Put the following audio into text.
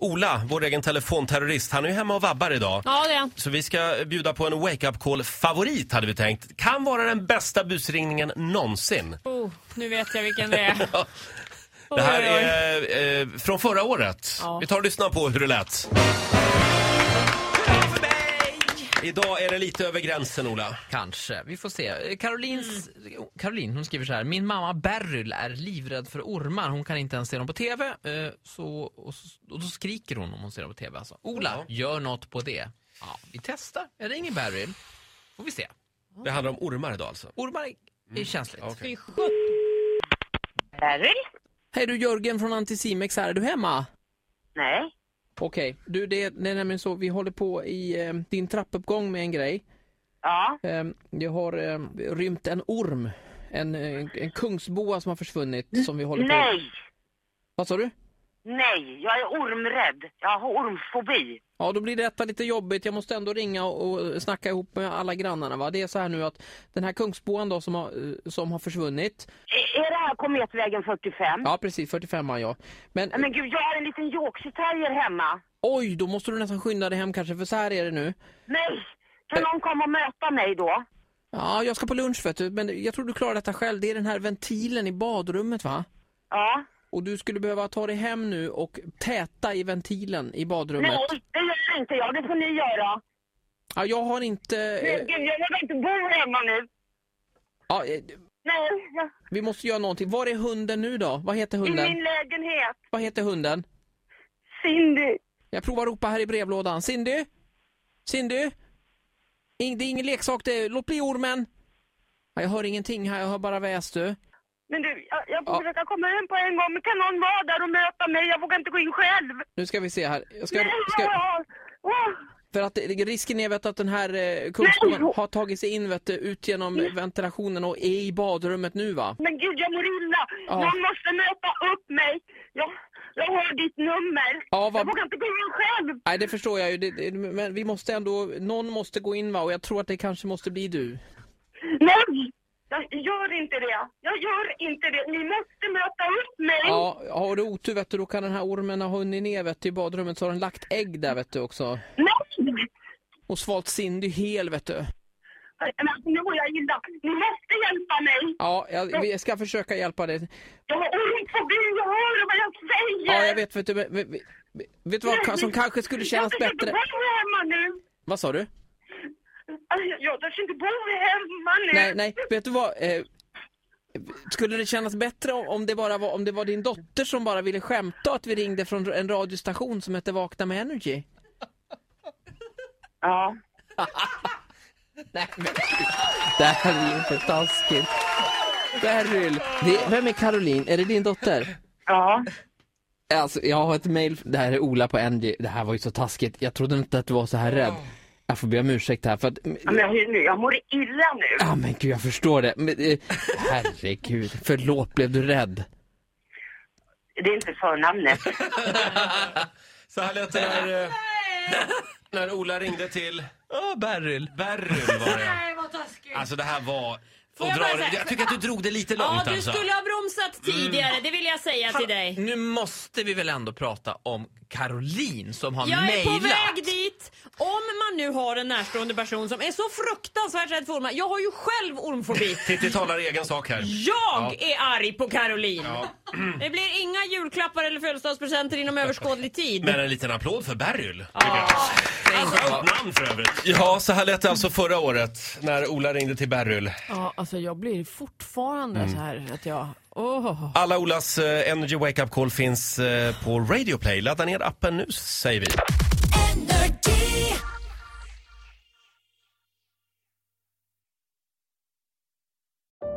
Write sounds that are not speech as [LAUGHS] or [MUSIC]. Ola, vår egen telefonterrorist, han är ju hemma och vabbar idag. Ja, det är han. Så vi ska bjuda på en wake-up call-favorit hade vi tänkt. Kan vara den bästa busringningen någonsin. Oh, nu vet jag vilken det [LAUGHS] är. Det här Oj, oj, oj. är eh, från förra året. Ja. Vi tar och lyssnar på hur det lät. Idag är det lite över gränsen, Ola. Kanske. Vi får se. Eh, Carolins, Mm. Caroline hon skriver så här. Min mamma Beryl är livrädd för ormar. Hon kan inte ens se dem på TV. eh, Så, och, s- och då skriker hon om hon ser dem på TV. Alltså. Ola, Ja. gör något på det. Ja, vi testar. Jag ringer Beryl. Får vi se. Det handlar om ormar idag alltså. Ormar är, är känsligt. Okej. Fy sjutton. Beryl? Hej du Jörgen från Anticimex här. Är du hemma? Nej. Okej. Du, det, det är nämligen så. Vi håller på i eh, din trappuppgång med en grej. Ja. Eh, det har eh, rymt en orm. En, en, en kungsboa som har försvunnit. Som vi håller på... Nej. Vad sa du? Nej. Jag är ormrädd. Jag har ormfobi. Ja, då blir detta lite jobbigt. Jag måste ändå ringa och, och snacka ihop med alla grannarna. Va? Det är så här nu att den här kungsboan då som har, eh, som har försvunnit. E, Är, är det här Kometvägen 45? Ja, precis. 45 an ja. Men Nej, Men gud, jag har en liten Yorkshire hemma. oj, då måste du nästan skynda dig hem kanske, för så här är det nu. Nej. Kan någon komma och möta mig då? Ja, jag ska på lunch vet du, men jag tror du klarar detta själv. Det är den här ventilen i badrummet va? Ja. Och du skulle behöva ta dig hem nu och täta i ventilen i badrummet. Nej, det gör inte jag. Det får ni göra. Ja, jag har inte... Men Eh, gud, jag vågar inte bo hemma nu. ja, eh, Nej. jag- vi måste göra någonting. Var är hunden nu då? Vad heter I hunden? min lägenhet. Vad heter hunden? Cindy. Jag provar att ropa här i brevlådan. Cindy? Cindy? In, det är ingen leksak det. är- Låt bli ormen! Ja, jag hör ingenting här, jag hör bara väs du. Men du, jag, jag får Ja. försöka komma hem på en gång. Men kan någon vara där och möta mig? Jag vågar inte gå in själv. Nu ska vi se här. Jag ska, Nej, ska, jag- Åh. för att det- risken är vet, du, att den här eh, kungsboan har tagit sig in vet, du, ut genom ventilationen och är i badrummet nu va? Men gud, jag mår illa. Ja. Någon måste möta upp mig. Jag, jag har ditt nummer. Ja, vad- Jag vågar inte gå in själv. Nej, det förstår jag ju. Det, det, men vi måste ändå, någon måste gå in va? Och jag tror att det kanske måste bli du. Nej! Jag gör inte det. Jag gör inte det. Ni måste möta upp mig. Ja, har du otur vet du, då kan den här ormen ha hunnit ner vet du, i badrummet så har den lagt ägg där vet du också. Nej! Och svalt Cindy hel vet du. Men alltså, nu mår jag illa. Ni måste hjälpa mig. Ja, jag, vi ska försöka hjälpa dig. Jag har ormfobi. Jag hör vad jag säger. Ja, jag vet. Vet du, vet, vet, vet du vad ka- som kanske skulle kännas jag bättre? Jag törs inte bo hemma nu. Vad sa du? Alltså, Jag törs inte bo hemma nu. Nej, nej. Vet du vad? Eh, skulle det kännas bättre om om det bara var, om det var din dotter som bara ville skämta och att vi ringde från en radiostation som hette Vakna med Energy? Ja. Nej, men gud. Det här är ju inte taskigt. Beryl. Det, vem är Caroline? Är det din dotter? Ja. Alltså, jag har ett mejl. Det här är Ola på NG. Det här var ju så taskigt. Jag trodde inte att du var så här rädd. Jag får be om ursäkt här för att Men jag, nu, jag mår illa nu. Ja men gud jag förstår det. Men, eh, herregud, förlåt blev du rädd? Det är inte förnamnet. Så här lät det när, eh, när Ola ringde till... Ja, Beryl. Berrum var det. Nej, vad taskigt. Alltså det här var... Får och jag bara dra- säga- jag tycker att du drog det lite långt ja, du alltså. skulle ha bromsat Mm. tidigare. Det vill jag säga till dig. Nu måste vi väl ändå prata om Caroline som har Jag är mejlat. på väg dit! Om man nu har en närstående person som är så fruktansvärt rädd för ormar. Jag har ju [LAUGHS] själv ormfobi. Titti talar i egen sak här. Jag är arg på Caroline. [CLEARS THROAT] Ja. Det blir inga julklappar eller födelsedagspresenter inom överskådlig tid. Men en liten applåd för Beryl. tycker jag. alltså, Skönt namn för övrigt. Ja, så här lät det alltså förra året när Ola ringde till Beryl. Ah. Ja, alltså jag blir fortfarande så här att jag... Åh. Alla Olas eh, Energy Wake Up Call finns eh, på Radio Play. Ladda ner appen nu säger vi.